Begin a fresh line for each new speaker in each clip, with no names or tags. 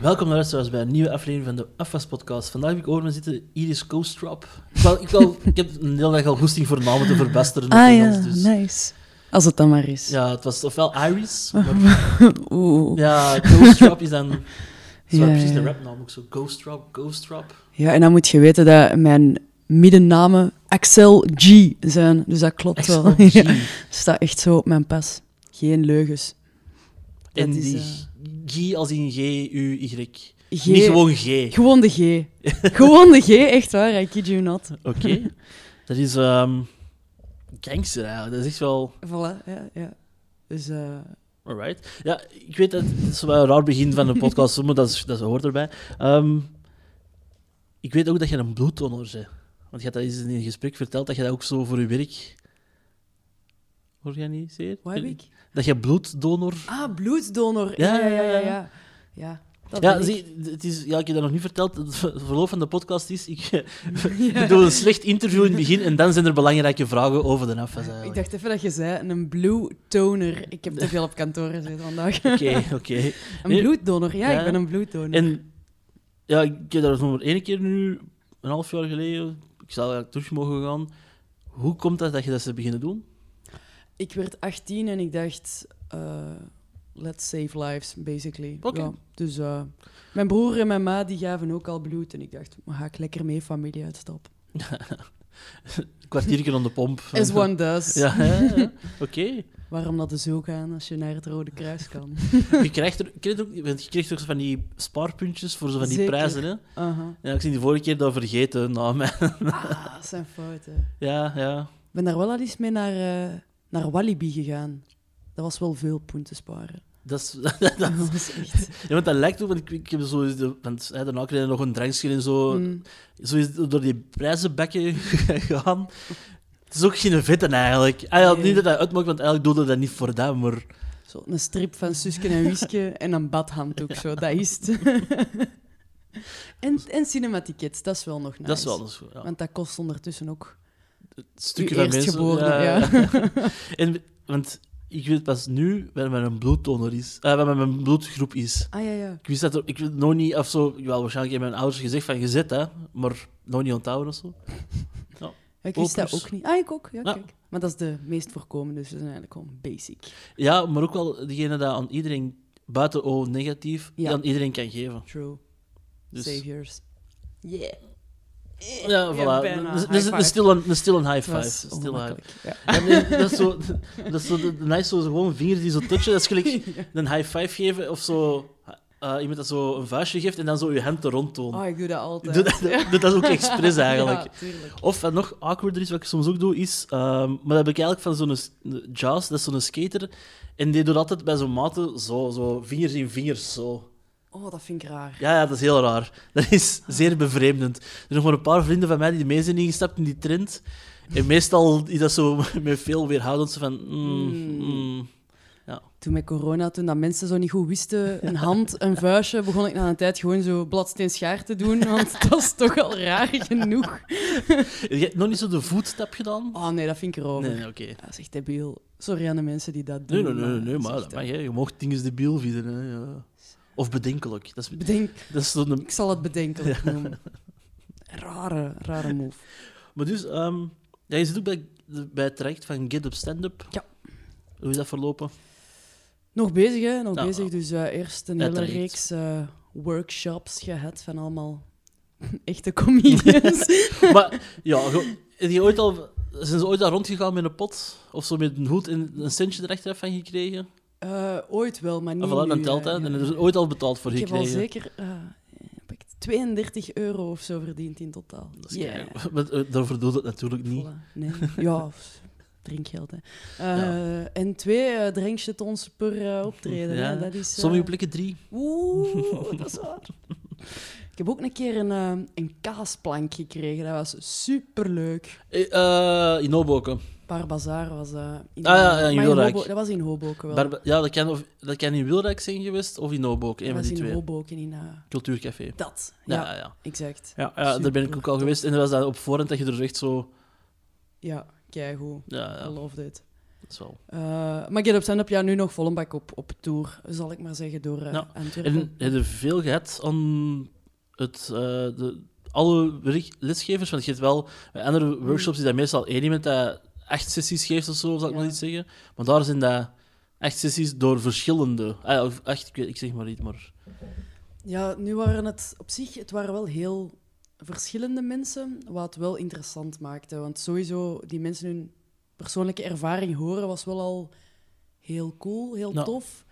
Welkom luisteraars bij een nieuwe aflevering van de Afwas Podcast. Vandaag heb ik over me zitten Iris Coastrop. Ik, wou- ik, wou- ik heb een hele dag al goesting voor namen te verbasteren. op
Ah ja,
Nederlands, dus-
nice. Als het dan maar is.
ja, het was ofwel Iris, maar
Oeh.
ja, Coastrop is dan... Dat is wel
Ja,
precies de
ja.
rapnaam ook zo. Coastrop, Coastrop.
Ja, en dan moet je weten dat mijn middennamen Axel G zijn. Dus dat klopt wel.
Excellent.
Ja, staat echt zo op mijn pas. Geen leugens.
En
Dat is,
die
eh,
G als in G-U-Y.
G.
Niet gewoon G.
Gewoon de G. Gewoon de G, echt waar. I kid you not.
Oké. Dat is ehm gangster eigenlijk. Dat is echt wel...
Voilà, ja, ja. Dus, eh,
Alright. Ja, ik weet dat het is wel een raar begin van een podcast, maar dat, is, dat hoort erbij. Ehm, ik weet ook dat je een bloeddonor bent. Want je had dat eens in een gesprek verteld, dat je dat ook zo voor je werk organiseert.
wat heb ik?
Dat je bloeddonor...
Ah, bloeddonor.
Ja,
Ja, ja, ja,
ja,
ja.
ja.
Ja, ja. dat
Ja,
ben ik.
zie, het is, ja, ik heb dat nog niet verteld. Het verloop van de podcast is, ik,
Ja.
ik doe een slecht interview in het begin en dan zijn er belangrijke vragen over de afwas eigenlijk.
Ik dacht even dat je zei, een blue toner. Ik heb te veel op kantoor gezeten vandaag.
Oké, oké.
Een bloeddonor, ja,
Ja.
ik ben een bloeddonor.
En ja, ik heb daar nog maar één keer nu, een half jaar geleden, ik zou eigenlijk terug mogen gaan. Hoe komt dat dat je dat ze beginnen doen?
Ik werd 18 en ik dacht, eh, let's save lives, basically.
Oké.
Ja, dus eh, mijn broer en mijn ma die gaven ook al bloed. En ik dacht, maar ga ik lekker mee familie uitstap.
Een kwartiertje aan de pomp.
As one does.
Ja, ja, ja. oké.
Waarom dat zo gaan als je naar het Rode Kruis kan?
Je krijgt er, ik weet het ook, niet, want je krijgt toch zo van die spaarpuntjes voor zo van die
Zeker.
prijzen, hè?
Aha.
Ja, ik zie die vorige keer dat vergeten na mij.
Ah, dat zijn fouten.
Ja, ja.
Ik ben daar wel al eens mee naar, eh, naar Walibi gegaan. Dat was wel veel punten sparen.
Dat is, dat,
Dat was echt...
ja, want dat lijkt ook, want ik, ik heb zo... de- Want, hè, daarna kreeg je nog een drankje en zo.
Mm.
zo is het door die prijzenbekken gegaan. Het is ook geen vetten eigenlijk. Ah, ja,
Nee.
Niet dat dat uitmaakt, want eigenlijk doelde dat niet voor dat, maar...
Zo, een strip van Suske en Wiske en een badhanddoek, zo, dat is het. en, en cinematickets, dat is wel nog nice.
Dat is wel eens goed. Ja.
Want dat kost ondertussen ook...
Het stukje
uw
van mensen...
eerstgeborene,
en, want ik weet pas nu waar mijn bloeddonor is. eh, waar mijn bloedgroep is.
Ah ja, ja.
Ik wist dat er, ik weet nog niet of zo... Wel, waarschijnlijk hebben mijn ouders gezegd van gezet, hè. Maar nog niet onthouden of zo.
Ik wist dat
Opus.
ook niet. Ah, ik ook. Ja,
Ja.
kijk. Maar dat is de meest voorkomende, dus dat is eigenlijk gewoon basic.
Ja, maar ook wel degene dat aan iedereen, buiten O negatief,
Ja.
aan iedereen kan geven.
True.
Dus,
Saviors. Yeah.
ja, voilà.
bijna.
Dus-
High
Dus een
five.
stil een- een stil een high
Het was
five. Stil een high
ongemakkelijk, ja.
Ja, nee, dat is zo, dat is zo de, de nice, zo gewoon vingers die zo touchen. Dat is gelijk een high five geven of zo. eh, iemand dat zo een vuistje geeft en dan zo je hand er rond toont.
Oh, ik doe dat
Doe
altijd.
dat, doe dat ook expres eigenlijk.
Ja, tuurlijk.
Of wat nog awkwarder is, wat ik soms ook doe, is... ehm, maar dat heb ik eigenlijk van zo'n s- Jaws, dat is zo'n skater. En die doet altijd bij zo'n maten zo, zo, vingers in vingers, zo.
Oh, dat vind ik raar.
Ja, ja, dat is heel raar. Dat is zeer bevreemdend. Er zijn nog maar een paar vrienden van mij die mee zijn ingestapt in die trend. En meestal is dat zo met veel weerhoudend zo van... mm,
Mm.
mm.
Toen met corona, toen dat mensen zo niet goed wisten, een hand, een vuistje, begon ik na een tijd gewoon zo bladsteen schaar te doen, want dat is toch al raar genoeg.
Je hebt nog niet zo de voetstap gedaan?
Oh nee, dat vind ik erover.
Nee, nee, oké.
Dat is echt debiel. Sorry aan de mensen die dat
Nee,
doen.
nee, nee, nee, nee, maar
is
dat
echt,
mag,
eh,
hè. Je mocht dingen debiel vinden, hè. Ja. Of bedenkelijk. Dat is,
eh, Bedenk,
dat is zo'n...
ik zal het bedenkelijk noemen. Rare, rare move.
Maar dus, ehm, ja, je zit ook bij, bij het traject van Get Up Stand Up.
Ja.
Hoe is dat verlopen?
Nog bezig, hè? Nog
Ja,
bezig. Dus eh, eerst een
Ja,
hele
terecht.
reeks eh, workshops gehad van allemaal echte comedians.
maar, ja, ge- heb je ooit al... Zijn ze ooit daar rondgegaan met een pot? Of zo met een hoed en een centje er echt van gekregen?
Eh, ooit wel, maar niet
En Ah, voilà,
nu,
dan telt
hè.
dat.
Ja,
En er
ja.
is ooit al betaald voor
Ik heb al
gekregen.
zeker eh, heb ik 32 euro of zo verdiend in totaal.
Dat is
Ja.
kei- Maar, eh, Daarvoor doet het natuurlijk niet.
Voilà. Nee. Ja, of drinkgeld. Hè. Eh,
Ja.
En twee eh drankjetons per eh, optreden.
Ja.
Hè. Dat is, eh,
Sommige plekken drie.
Oeh, dat is waar. ik heb ook een keer een, eh, een kaasplank gekregen. Dat was superleuk.
Eh, eh, in Hoboken.
Paar Bazaar was eh, in,
Ah, ja, ja, in
maar
Wilrijk.
Hobo- Dat was in Hoboken wel.
Barba- ja, dat kan, of, dat kan in Wilrijk zijn geweest of in Hoboken. Een
dat
van
was
die
in
twee.
Hoboken, in eh,
Cultuurcafé.
dat. Ja,
Ja, ja. ja.
exact.
ja, ja daar ben ik ook al
Supertop.
geweest. En dat was dan op voorhand dat je er echt zo...
Ja, keigoed.
Ja,
I
ja.
loved it.
Dat is wel...
Eh, maar Get Up Stand Up, ja, nu nog vol een bak op, op tour, zal ik maar zeggen, door eh
Ja.
Antwerpen.
En heb je veel gehad aan het, eh, de, alle werk- lesgevers? Want je hebt wel bij andere
Hmm.
workshops die dat meestal één iemand dat acht sessies geeft of zo, zal ik
Ja.
maar niet zeggen. Maar daar zijn dat acht sessies door verschillende. Ah, of acht, ik, weet- ik zeg maar niet, maar...
Ja, nu waren het op zich, het waren wel heel verschillende mensen, wat het wel interessant maakte. Want sowieso, die mensen hun persoonlijke ervaring horen was wel al heel cool, heel
Ja.
tof.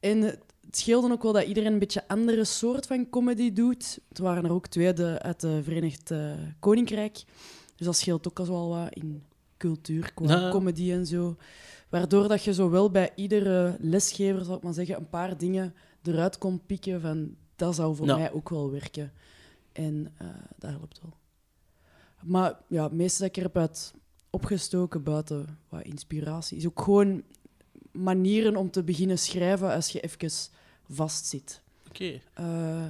En het het scheelde ook wel dat iedereen een beetje andere soort van comedy doet. Er waren er ook twee de, uit het Verenigd eh, Koninkrijk. Dus dat scheelt ook al wel wat in cultuur, qua
Ja.
comedy en zo. Waardoor dat je zowel bij iedere lesgever, zal ik maar zeggen, een paar dingen eruit kon pikken van dat zou voor
Ja.
mij ook wel werken. En eh dat helpt wel. Maar ja, het meeste dat ik er heb uit opgestoken buiten wat inspiratie is ook gewoon manieren om te beginnen schrijven als je even vastzit.
Oké.
Eh,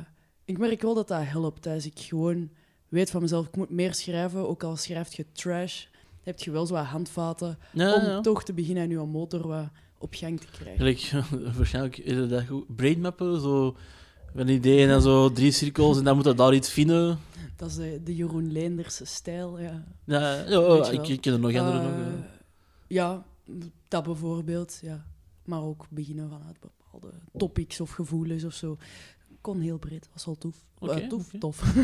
ik merk wel dat dat helpt. Als ik gewoon weet van mezelf, ik moet meer schrijven, ook al schrijf je trash, heb je wel zo wat handvaten
Ja,
om
ja, ja.
toch te beginnen aan je motor wat op gang te krijgen.
Gelijk, waarschijnlijk is het dat goed. Brainmappen, zo een idee en dan zo drie cirkels en dan moet dat daar iets vinden.
Dat is de, de Jeroen Leenderse stijl, ja.
Ja, ja, oh,
Weet je
ik,
wel.
ik ken er nog andere.
Eh,
nog, eh.
ja, dat bijvoorbeeld, ja. Maar ook beginnen vanuit bepaalde topics of gevoelens of zo. Kon heel breed, was wel tof. Eh,
Oké,
tof,
oké.
tof.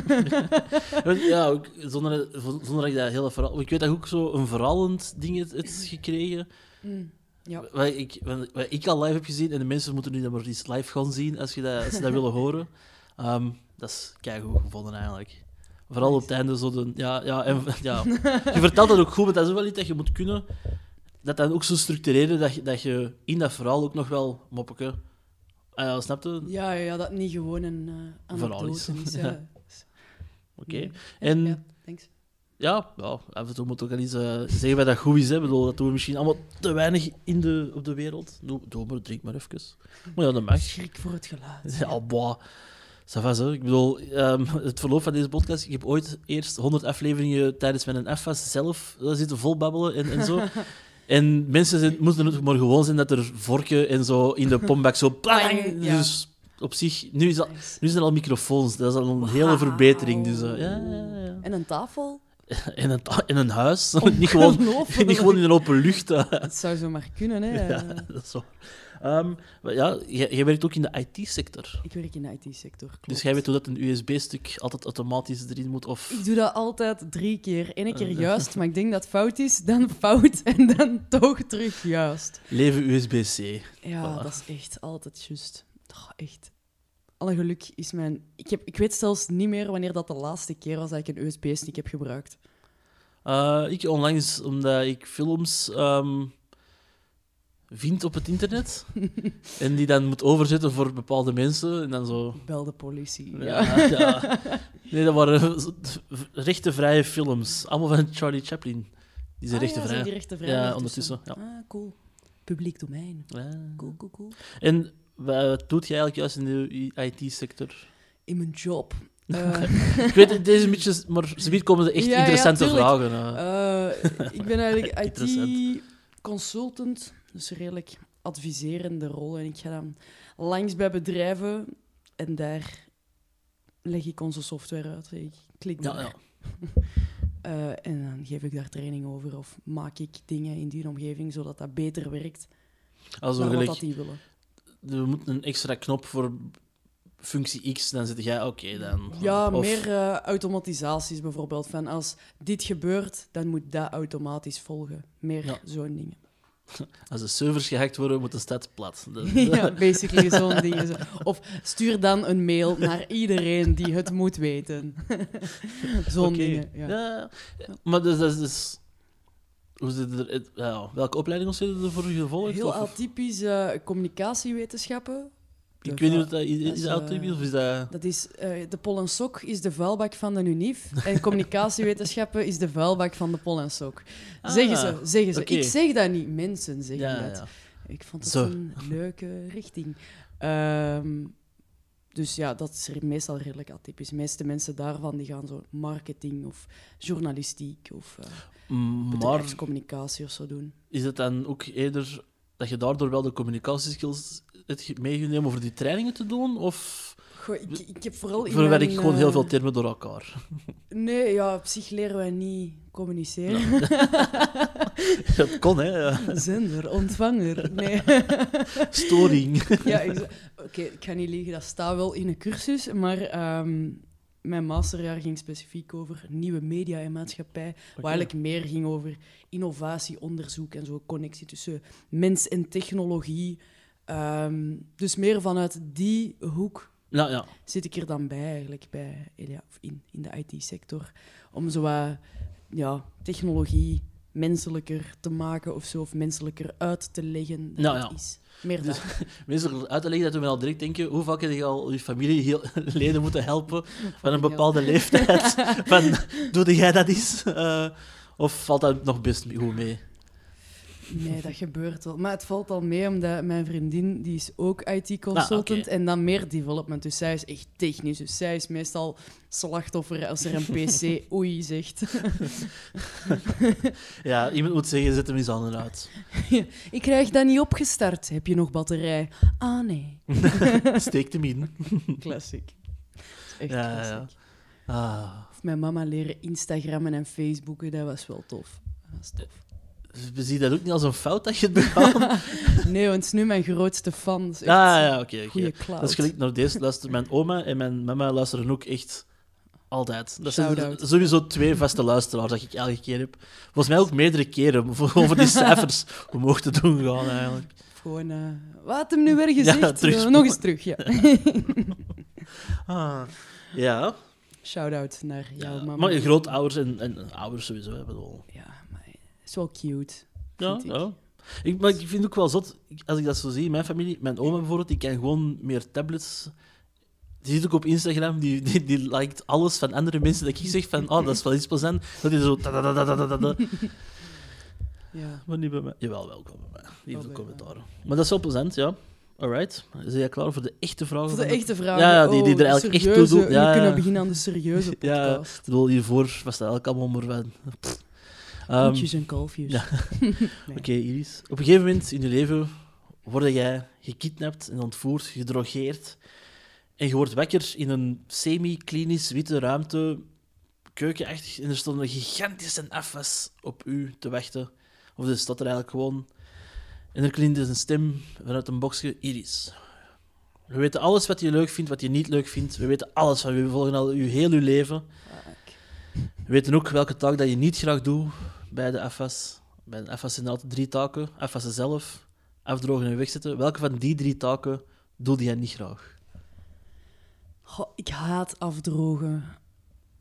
Want Ja, ook zonder, zonder dat ik dat hele verhaal... Ik weet dat je ook zo een verhalend ding hebt, hebt gekregen.
Mm, ja.
Wat ik, wat- wat ik al live heb gezien, en de mensen moeten nu dan maar eens live gaan zien als, je dat, als ze dat willen horen. Ehm, dat is keigoed gevonden, eigenlijk. Vooral op het einde zo de... Ja, ja, en, ja. Je vertelt dat ook goed, maar dat is ook wel iets dat je moet kunnen. Dat dan ook zo structureren dat je, dat je in dat verhaal ook nog wel moppeke... Ah ja, snap je?
Ja, ja, ja, dat niet gewoon een eh
Verhaal
anekdote
is.
is. ja.
Oké.
Ja.
En-
Ja, thanks.
Ja, ja, af en toe moet ook al eens eh, zeggen wat dat goed is. Hè. Ik Bedoel, dat doen we misschien allemaal te weinig in de, op de wereld. Doe, doe maar, drink maar even. Maar ja, dat mag.
Schrik voor het geluid.
Ja, boah. Ça va, zo. Ik bedoel, ehm, het verloop van deze podcast... Ik heb ooit eerst 100 afleveringen tijdens mijn afwas zelf eh, zitten volbabbelen en, en zo. En mensen zijn, moeten het maar gewoon zijn dat er vorken en zo in de pombak zo... Plang,
Ja.
Dus op zich, nu, is dat,
Nice.
nu zijn er al microfoons. Dat is al een hele verbetering. Dus, eh, ja, ja, ja.
En een tafel?
In een, ta- in een huis. niet, gewoon,
Ongelooflijk.
Oh. niet gewoon in een open lucht. eh.
Dat zou zo maar kunnen, hè.
ja, dat is waar. Ehm, maar ja, jij, jij werkt ook in de IT-sector.
Ik werk in de IT-sector, klopt.
Dus jij weet hoe dat een USB-stuk altijd automatisch erin moet. Of...
Ik doe dat altijd drie keer. Eén
Eh.
keer juist, maar ik denk dat het fout is, dan fout en dan toch terug juist.
Leven USB-C.
Ja,
Voilà.
dat is echt altijd juist. Oh, echt. Alle geluk is mijn... Ik, heb, ik weet zelfs niet meer wanneer dat de laatste keer was dat ik een USB-stick heb gebruikt.
Eh, ik onlangs, omdat ik films ehm, vind op het internet. en die dan moet overzetten voor bepaalde mensen. En dan zo...
Ik bel de politie.
Ja,
Ja.
ja. Nee, dat waren rechtenvrije films. Allemaal van Charlie Chaplin. Die zijn
Ah, ja,
rechtenvrij.
zijn die rechtenvrij
Ja,
ondertussen.
ondertussen. Ja.
Ah, cool. Publiek domein.
Ja.
Cool, cool, cool.
En wat doet jij eigenlijk juist in de IT-sector?
In mijn job. Eh,
Ik weet het, deze beetje, maar ze komen er echt
Ja, ja,
interessante
tuurlijk.
vragen. eh.
Eh, ik ben eigenlijk
Interessant.
IT-consultant, dus een redelijk adviserende rol. En ik ga dan langs bij bedrijven en daar leg ik onze software uit. Ik klik daar.
ja, ja.
Eh, en dan geef ik daar training over of maak ik dingen in die omgeving zodat dat beter werkt
Also,
dan wat
gelijk,
dat die willen.
we moeten een extra knop voor functie X, dan zit jij, oké, dan.
Ja,
Of-
meer eh, automatisaties bijvoorbeeld. Van als dit gebeurt, dan moet dat automatisch volgen. Meer
Ja.
zo'n dingen.
Als de servers gehackt worden, moet de stad plat. Dat-
Ja, basically zo'n ding. Zo. Of stuur dan een mail naar iedereen die het moet weten. zo'n
Oké.
dingen. Ja.
Ja. Maar dus, dat is dus... Hoe zit het er, het- ja, welke opleiding of zit er voor gevolgd?
Heel
Of-
atypisch eh, communicatiewetenschappen. De
ik weet niet
vuil-
of dat is, is
dat is, eh,
dat atypisch of is dat...
Dat is, eh, de pol en sok is de vuilbak van de UNIF. En communicatiewetenschappen is de vuilbak van de pol en sok. zeggen
Ah,
ze, zeggen ze.
oké.
Ik zeg dat niet, mensen zeggen
Ja,
dat.
ja.
Ik vond het
Zo.
een leuke richting. Ehm, Dus ja, dat is er meestal redelijk atypisch. De meeste mensen daarvan die gaan zo marketing of journalistiek of eh
Maar
bedrijfscommunicatie of zo doen.
is het dan ook eerder dat je daardoor wel de communicatieskills hebt ge- meegenomen voor die trainingen te doen? Of
Goh, ik, ik heb vooral in
verwerk ik
mijn,
gewoon heel
eh,
veel termen door elkaar?
Nee, ja, op zich leren wij niet communiceren.
dat kon, hè? Ja.
Zender, ontvanger. Nee.
Storing.
ja, exa- Oké, ik ga niet liegen, dat staat wel in een cursus, maar ehm, mijn masterjaar ging specifiek over nieuwe media en maatschappij, waar eigenlijk meer ging over innovatie, onderzoek en zo, connectie tussen mens en technologie. Ehm, dus meer vanuit die hoek
Ja, Nou ja.
zit ik er dan bij, eigenlijk, bij, Elia, of in, in de IT-sector, om zo wat, ja, technologie menselijker te maken of zo, of menselijker uit te leggen dan
Nou
het
ja.
is. Meer
Dus-
dan.
Mensen uit te leggen dat we al direct denken, hoe vaak heb je al je familieleden moeten helpen van een
Fucking
bepaalde leeftijd? van, doe jij dat eens? Eh, of valt dat nog best goed mee?
Nee, dat gebeurt wel. Maar het valt al mee, omdat mijn vriendin, die is ook IT-consultant
Ah, oké.
en dan meer development. Dus zij is echt technisch. Dus zij is meestal slachtoffer als er een PC oei zegt.
Ja, iemand moet zeggen, zet hem eens aan en uit.
Ik krijg dat niet opgestart. Heb je nog batterij? Ah, nee.
Steek hem in.
Classic. Dat is Echt
Ja, ja,
classic.
ja. Ah,
Of mijn mama leren Instagrammen en Facebooken, dat was wel tof. Dat was tof.
we zien dat ook niet als een fout dat je het begaan. ah,
Nee, want het is nu mijn grootste fan. Dat is echt
ja, oké. oké.
een goede cloud.
Dat is gelijk naar deze luistert mijn oma en mijn mama luisteren ook echt altijd. Dat zijn
Shout-out.
sowieso twee vaste luisteraars dat ik elke keer heb. Volgens mij ook meerdere keren voor- over die cijfers omhoog te doen gaan eigenlijk.
Of Gewoon, eh, wat had hem nu weer gezegd?
terugspoelen.
nog eens terug, ja.
Ah, ja.
Shout-out naar jouw
ja.
mama.
Maar je grootouders en, en ouders sowieso hebben het al.
Ja, maar het is wel cute.
Ja,
vind ik.
ja. Ik, maar ik vind ook wel zot, ik- als ik dat zo zie, mijn familie, mijn oma bijvoorbeeld, die kan gewoon meer tablets. Die zit ook op Instagram, die, die, die liked alles van andere mensen. Dat ik zeg van, oh, dat is wel iets plezant. Dat is zo... tadadadadadada.
Ja.
Maar niet bij mij. Jawel, welkom bij mij. Die heeft
bij
een
mij.
commentaar. Maar dat is wel plezant, ja. Alright. Zijn jij klaar voor de echte vragen?
Dat is
van
de echte vraag.
Ja, ja, die- die er eigenlijk echt toe
serieuze-
doet. Ja,
we
ja.
kunnen beginnen aan de serieuze
Ja,
podcast.
Ik bedoel, hiervoor was dat elk allemaal maar van... pff. Ehm,
Koetjes en kalfjes.
ja. Oké, Iris. Op een gegeven moment in je leven word jij gekidnapt en ontvoerd, gedrogeerd. En je wordt wakker in een semi-klinisch witte ruimte, keukenachtig. En er stond een gigantische afwas op u te wachten. Of dus dat er eigenlijk gewoon. En er klinkt dus een stem vanuit een boxje: Iris. We weten alles wat je leuk vindt, wat je niet leuk vindt. We weten alles van u. We volgen al uw heel uw leven.
Fuck.
We weten ook welke taak dat je niet graag doet bij de FS. Bij een FS zijn er altijd drie taken. FS zelf, afdrogen en wegzetten. Welke van die drie taken doe jij niet graag?
Goh, ik haat afdrogen.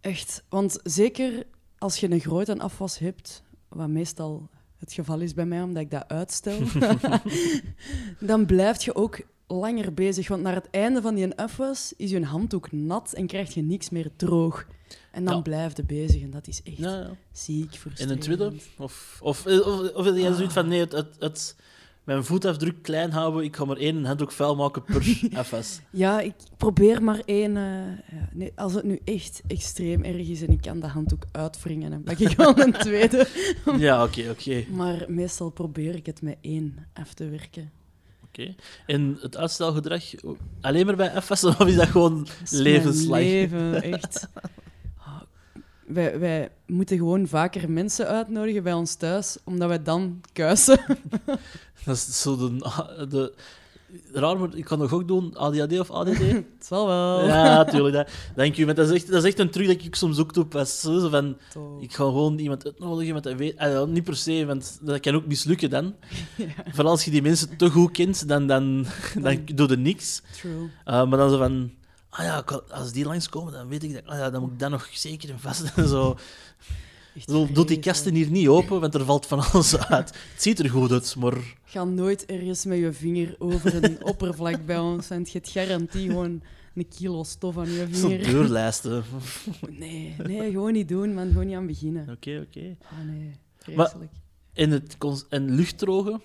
Echt. Want zeker als je een groot en afwas hebt, wat meestal het geval is bij mij, omdat ik dat uitstel, dan blijf je ook langer bezig. Want naar het einde van die afwas is je handdoek nat en krijg je niks meer droog. En dan
Ja.
blijf je bezig en dat is echt
Ja, ja.
ziek
En
frustrerend.
een tweede? Of, of, eh, of, of heb jij zoiets van, nee, het, het, het- mijn voetafdruk klein houden, ik ga maar één handdoek vuil maken per FS.
Ja, ik probeer maar één. eh, ja, nee, als het nu echt extreem erg is en ik kan de handdoek uitwringen, dan pak ik gewoon een tweede.
Ja, oké, oké.
Maar meestal probeer ik het met één af te werken.
oké. En het uitstelgedrag, alleen maar bij FS, of is dat gewoon
Dat is mijn
levenslang?
Leven, echt. Oh, Wij, wij moeten gewoon vaker mensen uitnodigen bij ons thuis, omdat wij dan kuisen.
Dat is zo de... de raar, maar ik kan nog ook doen, ADHD of ADD.
Het zal wel.
Ja, tuurlijk. Dat, dank u. Maar dat is, echt, dat is echt een truc dat ik soms ook doe. Pas, zo, zo van,
Toch.
ik ga gewoon iemand uitnodigen met een weet. ah, ja, niet per se, want dat kan ook mislukken dan. Vooral als je die mensen te goed kent, dan, dan, dan,
Dan-
doe je niks.
True.
Eh, maar dan zo van. Ah ja, ik kan- als die langskomen, dan weet ik dat. Ah ja, dan moet ik dat nog zeker en vast. en Zo.
Echt
Zo, Doe die
vreselijk.
kasten hier niet open, want er valt van alles uit. Het ziet er goed uit, maar.
Ga nooit ergens met je vinger over een oppervlak bij ons, want je hebt garantie gewoon een kilo stof aan je
Zo'n
vinger.
deurlijsten. Oké,
Nee, nee, gewoon niet doen, man. Gewoon niet aan beginnen.
oké.
Ah, nee.
Maar-
Vreselijk.
En, het cons- en luchtdrogen?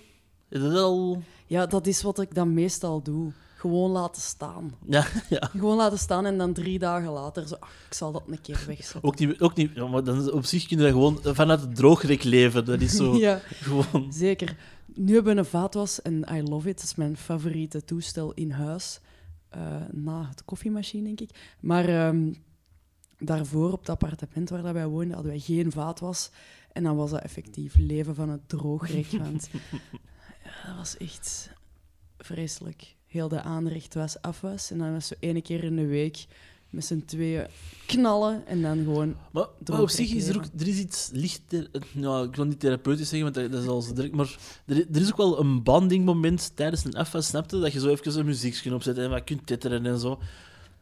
Is dat al.
Ja, dat is wat ik dan meestal doe. Gewoon laten staan.
Ja, ja.
Gewoon laten staan en dan drie dagen later zo, ah, ik zal dat een keer wegzetten.
Ook niet, ook niet ja, maar dan, op zich kunnen we gewoon vanuit het droogrek leven. Dat is zo
Ja,
gewoon...
zeker. Nu hebben we een vaatwas en I love it. Dat is mijn favoriete toestel in huis. Eh, na het koffiemachine, denk ik. Maar ehm, daarvoor, op het appartement waar dat wij woonden, hadden wij geen vaatwas. En dan was dat effectief leven van het droogrek. Want ja, dat was echt vreselijk. Heel de aanrecht was afwas. En dan was zo ene keer in de week met z'n tweeën knallen. En dan gewoon
Maar, maar op
Droogrek
zich is er ook... Er is iets licht... Nou, ik wil niet therapeutisch zeggen, want dat- dat is al zo direct. Maar er, er is ook wel een bandingmoment tijdens een afwas, snapte? Dat je zo even een muziekje opzet en wat kunt titteren en zo.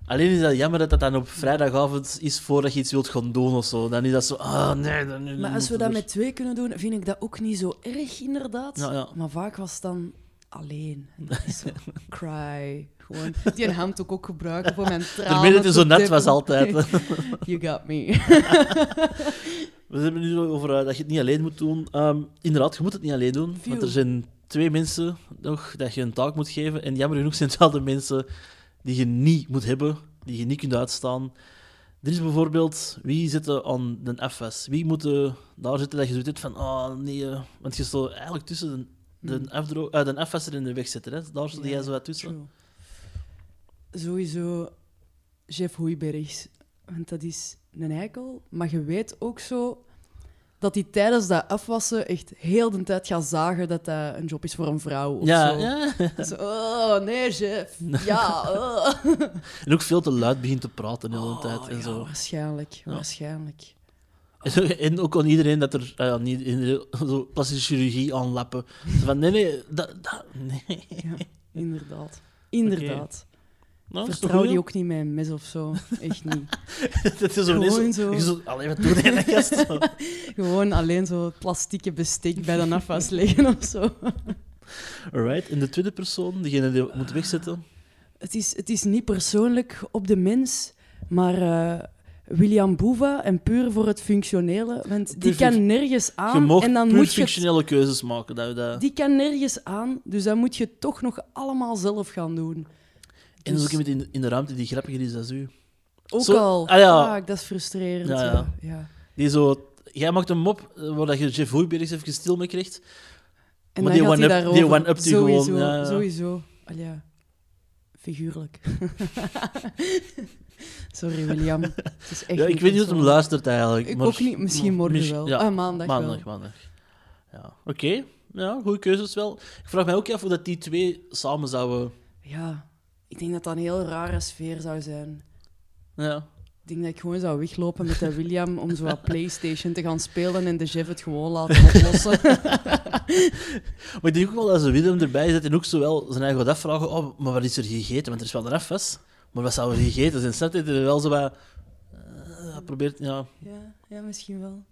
Alleen is dat jammer dat dat dan op vrijdagavond is voordat je iets wilt gaan doen of zo. Dan is dat zo... Ah, nee, dan, dan
Maar als
moeten
we dat
er-
met twee kunnen doen, vind ik dat ook niet zo erg, inderdaad.
Ja, ja.
Maar vaak was het dan alleen. En dat is zo, cry. Gewoon die handdoek ook gebruiken voor mijn tranen.
Daarmee dat het
te
zo net
dippen.
was altijd.
you got me.
We hebben het nu over eh, dat je het niet alleen moet doen. Ehm, inderdaad, je moet het niet alleen doen. Want
View.
er zijn twee mensen nog dat je een taak moet geven. En jammer genoeg zijn het wel de mensen die je niet moet hebben, die je niet kunt uitstaan. Er is bijvoorbeeld, wie zit er aan de FS? Wie moet eh, daar zitten dat je zoiets hebt van, ah nee, eh, want je staat eigenlijk tussen de, de, afdro- eh, de FS er in de weg zitten. Hè? Daar zit
Hmm. Ja,
jij zo wat tussen.
True. Sowieso Jeff Hoeibergs. Want dat is een eikel. Maar je weet ook zo dat hij tijdens dat afwassen echt heel de tijd gaat zagen dat dat een job is voor een vrouw of
Ja,
zo.
ja,
Zo, oh, nee, chef. Ja, oh.
en ook veel te luid begint te praten de hele tijd.
Oh,
En
ja,
zo.
Waarschijnlijk, waarschijnlijk.
En zo- En ook aan iedereen dat er eh, aan iedereen, zo plastische chirurgie aanlappen. Zo van, nee, nee, dat... dat nee.
Ja, inderdaad. Inderdaad.
Nou, dat is toch
Vertrouw
goed,
die ook niet met een mes of zo. Echt niet.
joh? Dat is zo niet
gewoon
zo...
zo.
je zo Allee, wat doe jij dat gast?
Gewoon alleen zo plastieke bestek bij de afwas leggen of zo.
Alright, en de tweede persoon, diegene die moet wegzetten.
Het is, het is niet persoonlijk op de mens, maar eh, William Boeva en puur voor het functionele. Want die
Puur func-
kan nergens
Je
aan.
mag
Ah, En dan
puur
moet je het-
functionele keuzes maken. Dat, dat.
Die kan nergens aan, dus dan moet je het toch nog allemaal zelf gaan doen.
En er is ook
Dus-
iemand in, in de ruimte die grappiger is dan u.
Ook
Zo-
al.
ah, ja.
Fuck, dat is frustrerend.
Ja,
Ja,
ja.
ja.
Die zo... Jij maakt een mop eh, waar dat je Jeff Hoeibergs even stil mee krijgt.
En
Maar
dan
die
gaat hij
one-up-
daarover.
die one-upt die gewoon, eh,
sowieso,
ja, ja.
Sowieso. Al ja, figuurlijk. Sorry, William. Het is echt
Ja, ik weet niet of hem
persoonlijk.
luistert eigenlijk.
Ik
maar-
ook niet. Misschien morgen
Misschien-
wel.
ja.
Ah, maandag,
Maandag,
wel.
maandag. Ja, oké. Ja, goede keuzes wel. Ik vraag mij ook af of dat die twee samen zouden...
Ja, ik denk dat dat een heel rare sfeer zou zijn.
Ja.
Ik denk dat ik gewoon zou weglopen met de William om zo wat PlayStation te gaan spelen en de Jeff het gewoon laten oplossen.
Maar ik denk ook wel dat ze Willem erbij zit en ook zo wel zijn eigen wat afvragen. Oh, maar wat is er gegeten? Want er is wel eraf vast. Maar wat zou er gegeten zijn? Snap je? Dat hij wel zo wat... eh, probeert, ja.
ja, ja, misschien wel.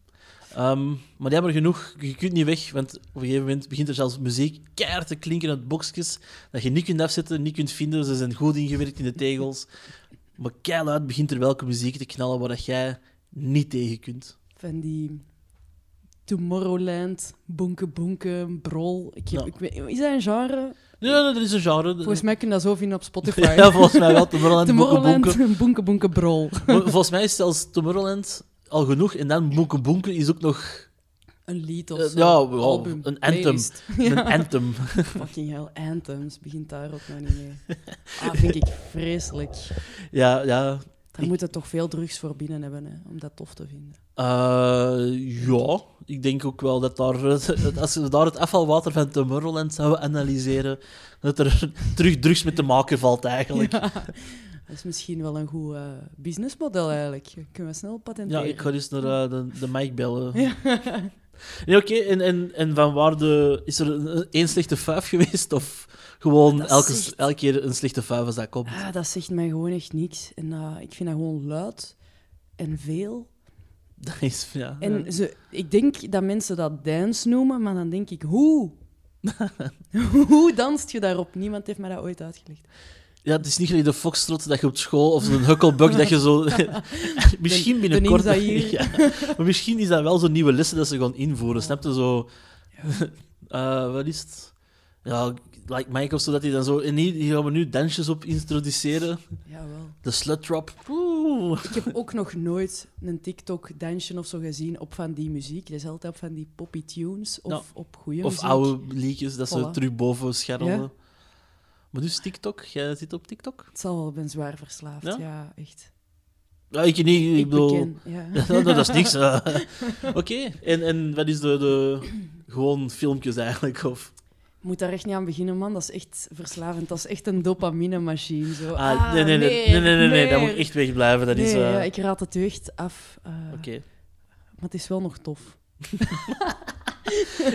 Ehm, maar jammer genoeg, je kunt niet weg, want op een gegeven moment begint er zelfs muziek keihard te klinken uit boxjes dat je niet kunt afzetten, niet kunt vinden. Ze zijn goed ingewerkt in de tegels. Maar keihard begint er welke muziek te knallen waar dat jij niet tegen kunt.
Van die Tomorrowland, bonke bonke, brol. Ik heb,
Ja.
ik weet, is dat een genre?
Ja, dat is een genre.
Volgens mij kun je dat zo vinden op Spotify.
ja, volgens mij wel. Tomorrowland, Boeken,
Tomorrowland,
Boeken.
bonke bonke, brol.
Maar volgens mij is zelfs Tomorrowland al genoeg. En dan Boeken Boeken is ook nog
Een lied of
Eh,
zo.
ja, wel,
Album,
een anthem.
playlist.
een
Ja.
anthem.
Fucking hell, anthems. Begint daar ook nog niet mee. Ah, vind ik vreselijk.
Ja, ja.
Daar moeten toch veel drugs voor binnen hebben, hè, om dat tof te vinden.
Eh, ja, ik denk ook wel dat daar, eh, als we daar het afvalwater van Tomorrowland zouden analyseren, dat er terug drugs mee te maken valt eigenlijk. Ja,
Dat is misschien wel een goed eh, businessmodel eigenlijk. Kunnen we snel patenteren.
ik ga eens naar eh, de, de Mike bellen.
Ja.
Nee, oké, en, en, en van waar de, is er een- één slechte vijf geweest? Of gewoon
Dat
elke,
zegt-
elke keer een slechte vijf als dat komt?
Ah, dat zegt mij gewoon echt niks. En eh, ik vind dat gewoon luid en veel.
Dat is, ja.
En ze, ik denk dat mensen dat dance noemen, maar dan denk ik, hoe? hoe danst je daarop? Niemand heeft mij dat ooit uitgelegd.
ja, het is niet gelijk de foxtrot dat je op school of zo'n hukkelbug dat je zo... misschien
De- de
binnenkort...
ninja hier.
Ja. maar misschien is dat wel zo'n nieuwe lessen dat ze gaan invoeren. Snap je? Zo... eh, wat is het? Ja, like Michael, zodat hij dan zo... En hier, hier gaan we nu dansjes op introduceren.
Jawel.
De slut drop. Oeh.
Ik heb ook nog nooit een TikTok-dansje of zo gezien op van die muziek. Dat is altijd op van die poppy tunes of
Nou,
op goede
Of
muziek.
oude liedjes dat ze
Voilà.
terug boven scharrelen.
Ja.
Maar dus TikTok, jij zit op TikTok?
Het zal wel, ik ben zwaar verslaafd.
Ja?
Ja, echt.
Ja, ik niet, ik,
Ik,
bedoel...
beken, ja.
Nou, dat is niks. eh. Oké, en, en wat is de, de... Gewoon filmpjes eigenlijk, of...
Je moet daar echt niet aan beginnen, man. Dat is echt verslavend. Dat is echt een dopaminemachine. Zo.
Ah, nee, nee, nee, nee, nee, nee, nee, dat moet
meer.
echt wegblijven. Dat is...
Nee,
eh,
ja, ik raad het echt af. eh,
Oké.
Maar het is wel nog tof.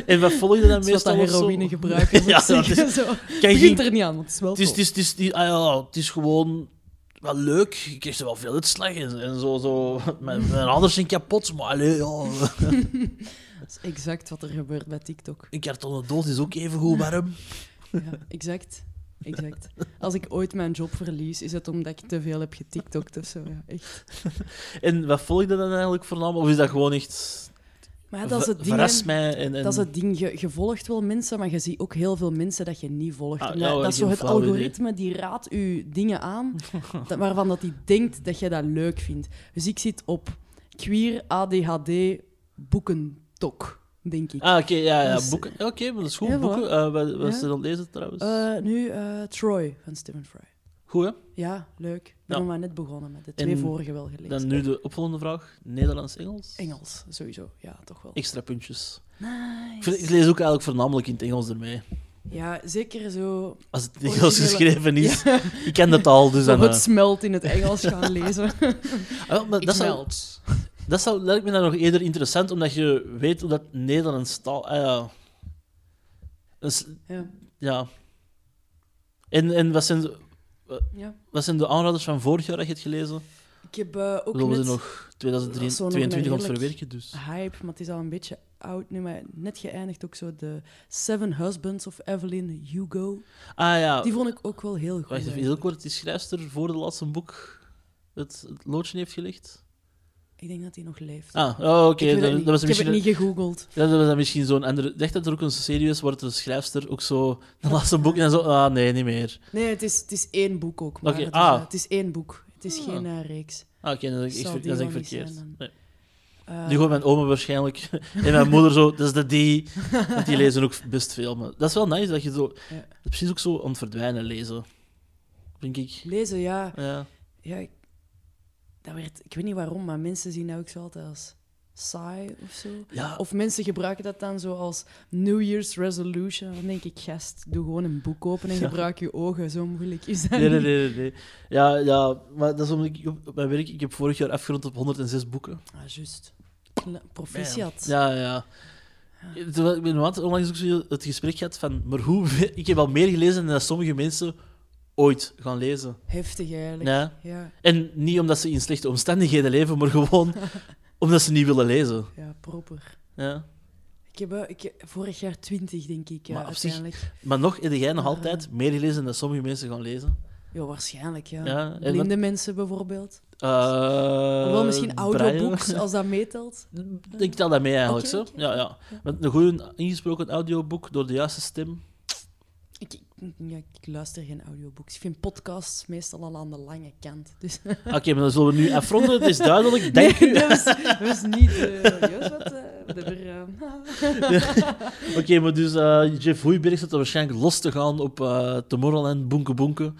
En wat volg je dan
Het is wat dat
meestal? of zo?
heroïne gebruiken.
ja,
ja,
dat is...
zo.
Kan je geen-
Begint er niet aan, want het is wel
Het is,
tof.
het, is, het, is, die- ah ja, het is gewoon wel leuk. Je krijgt er wel veel uitslag en, en zo. zo. Mijn, mijn ouders zijn kapot, maar allee, ja.
Dat is exact wat er gebeurt bij TikTok.
een kartonnen doos is ook even goed warm.
Ja, exact. Exact. Als ik ooit mijn job verlies, is het omdat ik te veel heb getiktokt of zo. Ja, echt.
En wat volg je dan eigenlijk voornamelijk? Of is dat gewoon echt...
Maar ja, Ah, dat is
ver-
het ding.
Verras
hè.
mij en... en
Dat is het ding. Je, je volgt wel mensen, maar je ziet ook heel veel mensen dat je niet volgt.
Ah,
Omdat-
ja, hoor,
dat is
geen
zo het
flauw idee.
algoritme, die raadt je dingen aan dat- waarvan dat die denkt dat je dat leuk vindt. Dus ik zit op queer ADHD boekentok, denk ik.
Ah, oké, ja, ja,
Dus-
boeken. Oké, maar dat is goed,
Ja, voilà.
boeken. Eh, wat wat
Ja.
is er aan deze trouwens?
Eh, nu eh, Troy van Stephen Fry.
goed, hè?
Ja, leuk. Ik ben
Ja.
nog maar net begonnen met de twee
En
vorige wel gelezen.
Dan nu de opvolgende vraag. Nederlands-Engels?
Engels, sowieso. Ja, toch wel.
Extra puntjes. Ik, vind- ik
Nice.
lees ook eigenlijk voornamelijk in het Engels ermee.
Ja, zeker zo.
Als het in het Engels
Originele-
geschreven is.
Ja,
Ik ken de taal, dus
zo
dan...
het
eh,
smelt in het Engels gaan lezen.
Ah, wel, maar dat, zou, dat zou, lijkt me dan nog eerder interessant, omdat je weet hoe dat Nederlands taal... ah ja. Dus,
Ja.
ja. En, en wat, zijn, de-
ja.
wat zijn de aanraders van vorig jaar dat je hebt gelezen?
Ik heb eh, ook
We
net
er nog
Dat is zo nog maar
2022 aan het
redelijk.
verwerken, dus...
hype, maar het is al een beetje oud nu, maar net geëindigd ook zo de Seven Husbands of Evelyn Hugo.
Ah ja,
Die vond ik ook wel heel goed.
wacht even, heel
eigenlijk.
kort. Die schrijfster voor het laatste boek het, het loodje heeft gelegd?
Ik denk dat hij nog leeft.
Ah, oh, oké.
ik weet
dat,
het
dat
niet.
was
ik heb het
misschien...
niet gegoogeld.
Ja, dat was dan misschien zo'n andere... Ik dacht dat er ook een serie is waar de schrijfster ook zo... Het laatste boek en dan zo... Ah, nee, niet meer.
Nee, het is, het is één boek ook. Maar
Oké,
het,
ah.
is, eh, het is één boek. Het is
Ah.
geen eh, reeks.
Ah, oké, dat is
Zal
ik,
die
dat is ik
wel niet
verkeerd.
zijn
Nee.
Eh,
Nu gewoon mijn oma waarschijnlijk. en mijn moeder zo, dat is de die. Want die lezen ook best veel. Maar dat is wel nice dat je zo...
Ja.
dat is precies ook zo aan het verdwijnen lezen. Denk ik.
Lezen, ja.
Ja.
Ja, ik, dat werd, ik weet niet waarom, maar mensen zien dat ook zo altijd als saai of zo.
Ja,
Of mensen gebruiken dat dan zo als New Year's resolution. Dan denk ik, gast, doe gewoon een boek open en
Ja.
gebruik je ogen. Zo moeilijk is dat
nee, nee,
niet.
nee, nee, nee. Ja, ja, maar dat is omdat ik op, op mijn werk... Ik heb vorig jaar afgerond op 106 boeken.
Ah, juist. Kle- Proficiat.
Ja, ja. Terwijl Ik ben want onlangs ook zo het gesprek gehad van... Maar hoe... Ik heb al meer gelezen dan dat sommige mensen ooit gaan lezen.
Heftig eigenlijk. Ja.
Ja.
Ja,
En niet omdat ze in slechte omstandigheden leven, maar gewoon omdat ze niet willen lezen.
proper.
Ja.
Ik heb eh, ik, vorig jaar twintig, denk ik, ja,
Maar op zich-
uiteindelijk.
Maar nog, heb jij nog
Ah.
altijd meer gelezen dan sommige mensen gaan lezen?
Ja, waarschijnlijk, ja.
Ja, en
Blinde mensen bijvoorbeeld.
Eh,
Wel misschien
Braille.
audiobooks, als dat meetelt.
Ik tel dat mee eigenlijk,
Oké,
zo.
oké.
Ja, ja. Met een goed ingesproken audioboek door de juiste stem.
Ik, ik- ja, ik luister geen audiobooks. Ik vind podcasts meestal al aan de lange kant. Dus
Ah, Oké, maar dan zullen we nu afronden. Het is duidelijk. Dank
nee,
u.
dat is, dat is niet... eh Joost, wat, eh, wat hebben we er, eh,
Oké, maar dus eh, Jeff Hoeiberg zit er waarschijnlijk los te gaan op eh Tomorrowland, Bonke Bonke. Ik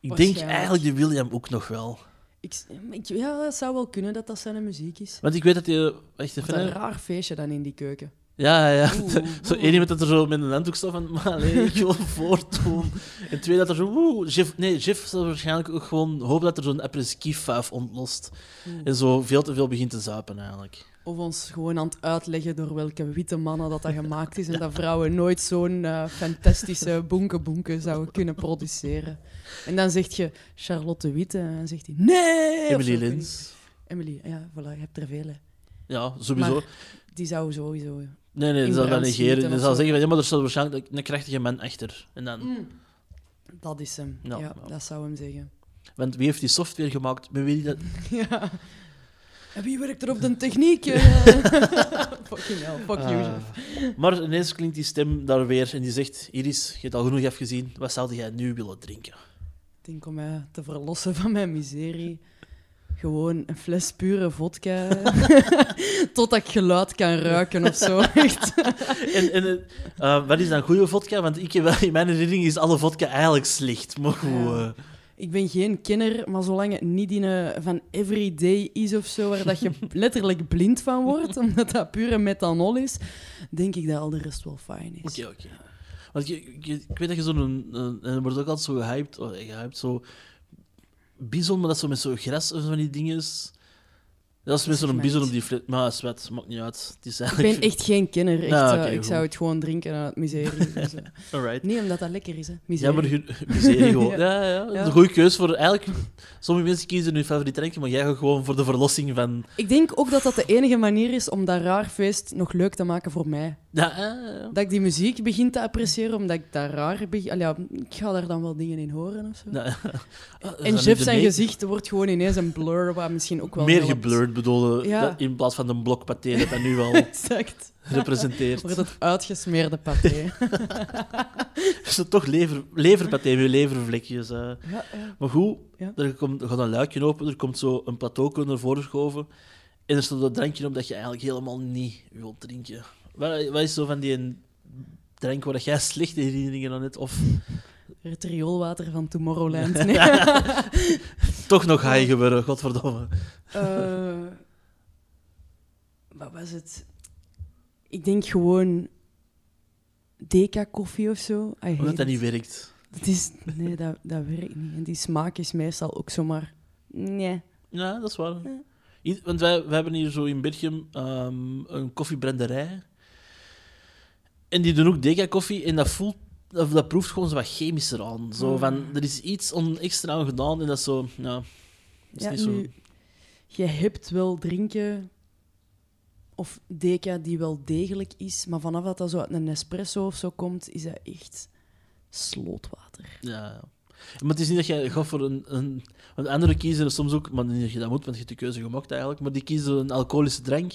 denk
Waarschijnlijk.
eigenlijk die William ook nog wel.
ik, s- ik- ja, het zou wel kunnen dat dat zijn muziek is.
Want ik weet dat hij... Echt
Wat een
even... hè.
raar feestje dan in die keuken.
Ja, ja.
Oeh,
Zo
oeh.
één iemand dat er zo met een handdoek staat van, maar allee, ik wil voortdoen. En twee dat er zo, woe, Jeff, nee, Jeff zal waarschijnlijk ook gewoon hopen dat er zo'n apres-ski-fuif ontlost.
Oeh.
En zo veel te veel begint te zuipen eigenlijk.
Of ons gewoon aan het uitleggen door welke witte mannen dat dat gemaakt is en dat vrouwen nooit zo'n eh, fantastische bonkenbonken zouden kunnen produceren. En dan zegt je Charlotte Witte en dan zegt hij nee! of zo,
Emily
ik weet niet.
Lins.
Emily, ja, voilà, je hebt er vele.
Ja, sowieso.
Die zou sowieso...
nee, nee,
in
die zal dat
brand
negeren.
schieten
Die zal
of zo. Mm.
zeggen, van, ja, maar er staat waarschijnlijk een krachtige man achter. En dan,
Dat is hem.
Mm. Ja,
Ja,
ja.
dat zou hem zeggen.
want wie heeft die software gemaakt? Met wie die dat...
ja. En wie werkt er op de techniek? Eh, Fucking hell, fuck you.
Ah.
Jeff.
Maar ineens klinkt die stem daar weer en die zegt: Iris, je hebt al genoeg afgezien. Wat zou jij nu willen drinken?
Ik denk om mij te verlossen van mijn miserie. Gewoon een fles pure vodka. Totdat ik geluid kan ruiken of zo. Echt.
En, en eh, eh, wat is dan goede vodka? Want ik heb, wel- in mijn herinnering is alle vodka eigenlijk slecht. Maar goed.
Ja.
eh,
Ik ben geen kenner, maar zolang het niet in eh, van everyday is of zo, waar dat je letterlijk blind van wordt, omdat dat pure methanol is, denk ik dat al de rest wel fijn is.
Oké, oké. Want je, je- ik weet dat je zo'n. een- een- En er wordt ook altijd zo gehyped. oh, gehyped zo, bison, maar dat zo met zo'n gras of van die dingen is. Dat is met
zeg
zo'n
mij
bison
niet.
op die flat. Maar het is wat, maakt niet uit. Het is
Ik
eigenlijk.
ben echt geen kenner. Echt,
Nou,
eh,
oké,
ik
goed.
zou het gewoon drinken aan het miserie. Dus, eh.
Alright.
niet omdat dat lekker is, hè.
Ja,
Miserie.
maar je- miserie gewoon. ja. Ja, ja, dat is
Ja.
een goede keus voor eigenlijk. Sommige mensen kiezen hun favoriet drankje, maar jij gaat gewoon voor de verlossing van.
Ik denk ook dat dat de enige manier is om dat raar feest nog leuk te maken voor mij.
Ja, ja, ja.
Dat ik die muziek begin te appreciëren, omdat ik daar raar... Be- Allee, ja, ik ga daar dan wel dingen in horen of zo.
Nou,
en Jeff zijn gezicht wordt gewoon ineens een blur, wat misschien ook wel
Meer
helpt.
geblurred bedoelde,
Ja.
dat- in plaats van de blok paté dat dat nu al
Exact.
representeert.
Wordt het uitgesmeerde paté.
Is Dus het toch lever, leverpaté met levervlekjes? eh.
ja, ja.
Maar goed,
Ja.
er, komt, er gaat een luikje open, er komt zo een plateau naar voren geschoven. En er staat dat drankje op dat je eigenlijk helemaal niet wilt drinken. Wat, wat is zo van die drank waar jij slechte herinneringen aan hebt? Of
Het rioolwater van Tomorrowland. Nee.
toch nog high gebeuren, godverdomme.
Eh, wat was het? Ik denk gewoon deca koffie of zo. I hate
Omdat dat
it.
niet werkt.
Het is, nee, dat, dat werkt niet. En die smaak is meestal ook zomaar. Nee.
Ja, dat is waar.
Ja.
Ied- Want wij, wij hebben hier zo in Berchem ehm, een koffiebrenderij. En die doen ook deca-koffie. En dat voelt... Of dat proeft gewoon zo wat chemischer aan. Zo
Mm.
van, er is iets on, extra aan gedaan en dat is zo... Ja, dat is
Ja,
niet zo...
nu, je hebt wel drinken of deca die wel degelijk is, maar vanaf dat dat zo uit een espresso of zo komt, is dat echt slootwater.
Ja, ja. Maar het is niet dat jij gaat voor een, een... Want anderen kiezen soms ook... Maar niet dat je dat moet, want je hebt de keuze gemaakt eigenlijk. Maar die kiezen een alcoholische drank.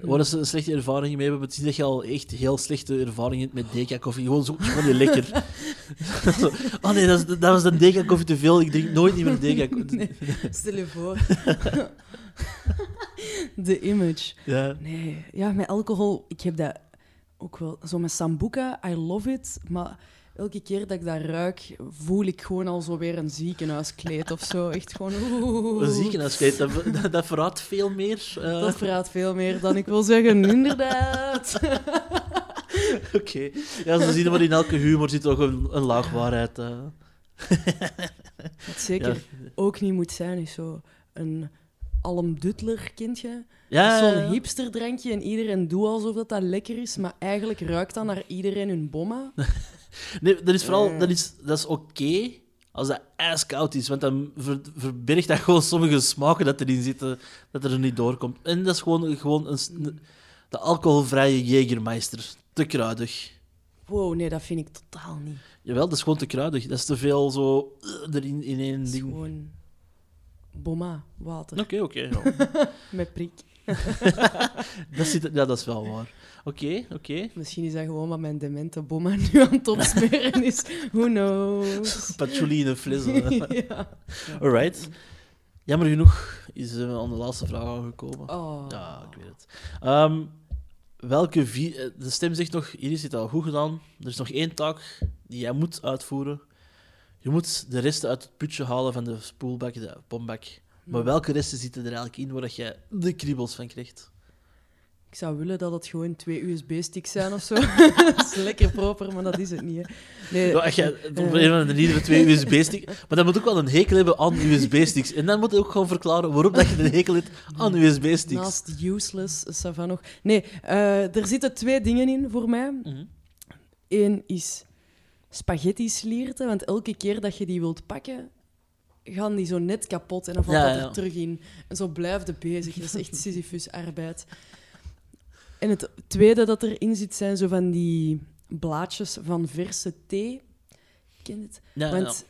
Waar ze een slechte ervaring mee hebben. Maar het is niet dat je al echt heel slechte ervaring hebt met deca-koffie. Gewoon zo gewoon niet lekker. Zo, oh nee, dat, is- dat was de deca-koffie te veel. Ik drink nooit niet meer deca-koffie.
Nee, Stel je voor. De image.
Ja.
Nee, ja, met alcohol, ik heb dat ook wel. Zo met Sambuca, I love it, maar elke keer dat ik dat ruik, voel ik gewoon al zo weer een ziekenhuiskleed of zo. Echt gewoon, oeh.
Een ziekenhuiskleed, dat, dat, dat verraadt veel meer. Eh,
Dat verraadt veel meer dan ik wil zeggen, inderdaad.
Oké. Ja, ze zien maar in elke humor zit toch een, een laag waarheid. eh.
Wat zeker ook niet moet zijn, is zo een almdutler, kindje.
Ja,
Zo'n hipsterdrankje en iedereen doet alsof dat, dat lekker is, maar eigenlijk ruikt dat naar iedereen hun bomma.
Nee, dat is vooral... Dat is, dat is oké als dat ijskoud is, want dan ver- verbergt dat gewoon sommige smaken dat erin zitten, dat er niet doorkomt. En dat is gewoon, gewoon een, s- de alcoholvrije Jägermeister. Te kruidig.
Wow, nee, dat vind ik totaal niet.
Jawel, dat is gewoon te kruidig. Dat is te veel zo eh, erin in één
Het is
ding.
gewoon bomma, water,
Oké, oké. ja.
met prik.
dat, zit- ja, dat is wel waar. Oké, oké.
Misschien is dat gewoon wat mijn demente bomma nu aan het opsmeren is. Who knows?
Patchouli in een fles. eh.
ja.
Alright. Jammer genoeg is eh, aan de laatste vraag aangekomen.
Oh.
Ja, ik weet het. Ehm, welke vi- eh, De stem zegt nog: Iris heeft het al goed gedaan. Er is nog één taak die jij moet uitvoeren. Je moet de resten uit het putje halen van de spoelbak, de pombak. Maar welke resten zitten er eigenlijk in waar dat jij de kriebels van krijgt?
Ik zou willen dat het gewoon twee USB-sticks zijn of zo. dat is lekker proper, maar dat is het niet. Hè. Nee,
Ja, als Nou, jij
eh,
op een of andere manier met twee USB-sticks. Maar dan moet ook wel een hekel hebben aan USB-sticks. En dan moet je ook gewoon verklaren waarom dat je een hekel hebt aan USB-sticks.
naast useless, Savan nog. Nee, eh, er zitten twee dingen in voor mij.
Mhm.
Eén is spaghetti slierten, want elke keer dat je die wilt pakken, gaan die zo net kapot en dan valt
Ja,
dat
ja.
er terug in. En zo blijf je bezig. Dat is echt Sisyphus-arbeid. En het tweede dat erin zit, zijn zo van die blaadjes van verse thee. Ken je het?
Ja, ja.
Want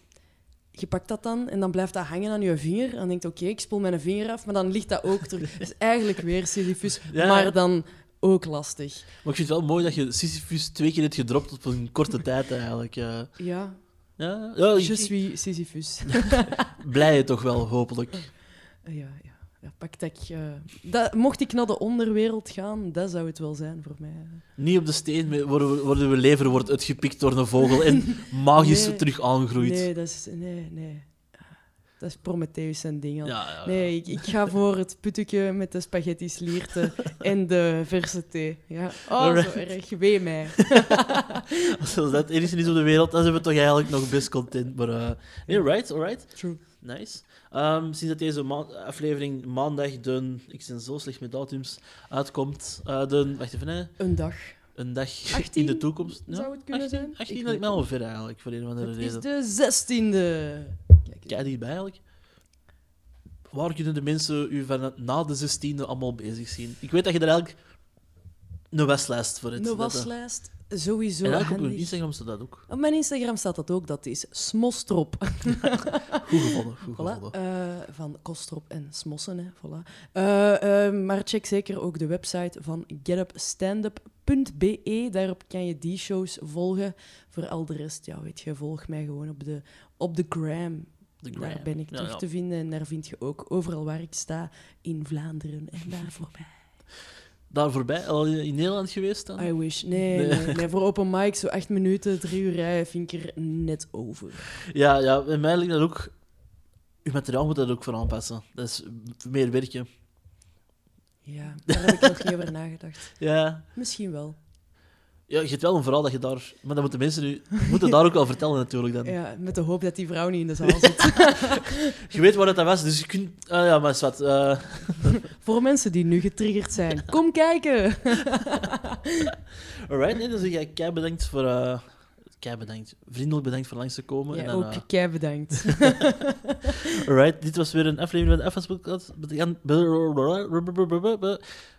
je pakt dat dan en dan blijft dat hangen aan je vinger. En dan denkt oké, ik spoel mijn vinger af, maar dan ligt dat ook terug. Dus eigenlijk weer Sisyphus,
Ja.
maar dan ook lastig.
Maar ik vind het wel mooi dat je Sisyphus twee keer hebt gedropt op een korte tijd eigenlijk. eh.
Ja,
ja, ja ik-
je suis Sisyphus.
blij toch wel, hopelijk.
ja, ja. Ja, pak dat ik, eh, dat, mocht ik naar de onderwereld gaan, dat zou het wel zijn voor mij.
Niet op de steen mee- worden we, worden we lever wordt uitgepikt door een vogel en magisch
Nee.
terug aangroeit.
Nee, dat is... Nee, nee. Dat is Prometheus en dingen.
Ja, ja.
Nee, ik, ik ga voor het puttetje met de spaghetti slierten en de verse thee. Ja. Oh,
Alright.
zo erg. Wee mij.
Als dat het enige is op de wereld, dan zijn we toch eigenlijk nog best content. Maar eh, nee, right, alright.
True.
Nice. Ehm, sinds dat deze ma- aflevering maandag, de, ik ben zo slecht met datums, uitkomt. eh, de, wacht even, hè,
Een dag.
een dag
18
in de toekomst.
zou het kunnen
18,
zijn?
18
Ik
dat ik
weet
me al ver eigenlijk, voor een of andere
Het is
reden.
de zestiende.
Kijk dichtbij eigenlijk. Waar kunnen de mensen u van na de 16e allemaal bezig zien? Ik weet dat je er eigenlijk een waslijst voor hebt.
Een
Dat- eh,
waslijst. Sowieso
En eigenlijk op
handig.
hun Instagram staat dat ook.
Op mijn Instagram staat dat ook. Dat is smostrop.
Goed gevonden, goed
Voilà,
gevonden.
eh, van Kostrop en Smossen. Hè, voilà. Eh, eh, maar check zeker ook de website van getupstandup.be. Daarop kan je die shows volgen. Voor al de rest, ja, weet je, volg mij gewoon op de, op de gram.
De gram.
Daar ben ik
Ja,
terug
ja.
te vinden. En daar vind je ook overal waar ik sta in Vlaanderen en daar voorbij.
Daar voorbij, al in Nederland geweest dan?
I wish. Nee, nee.
Nee.
nee, voor open mic, zo acht minuten, drie uur rijden, vind ik er net over.
Ja, ja, en mij lijkt dat ook. Uw materiaal moet dat ook voor aanpassen. Dat is meer werkje.
Ja, daar heb ik nog niet over nagedacht.
Ja.
Misschien wel.
ja, je hebt wel een verhaal dat je daar. Maar dat moeten mensen nu. moeten daar ook wel vertellen, natuurlijk. Dan.
Ja, met de hoop dat die vrouw niet in de zaal zit.
Je weet waar dat dat was, dus je kunt. Ah ja, maar zwart. eh,
Voor mensen die nu getriggerd zijn, kom kijken.
alright, nee, dus jij kei bedankt voor. eh kei bedankt. Vriendelijk bedankt voor langs te komen.
Ja,
en dan,
ook kei bedankt.
eh, alright, dit was weer een aflevering van de FS Podcast. Bedankt-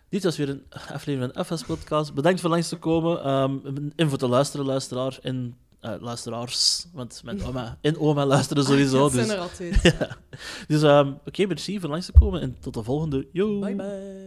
Dit was weer een aflevering van de FS Podcast. Bedankt voor langs te komen. ehm, en voor te luisteren, luisteraar. En eh, luisteraars. Want mijn oma en oma luisteren sowieso.
Dat
dus
zijn er al twee.
dus ehm, oké, merci voor langs te komen. En tot de volgende. Yo.
Bye bye.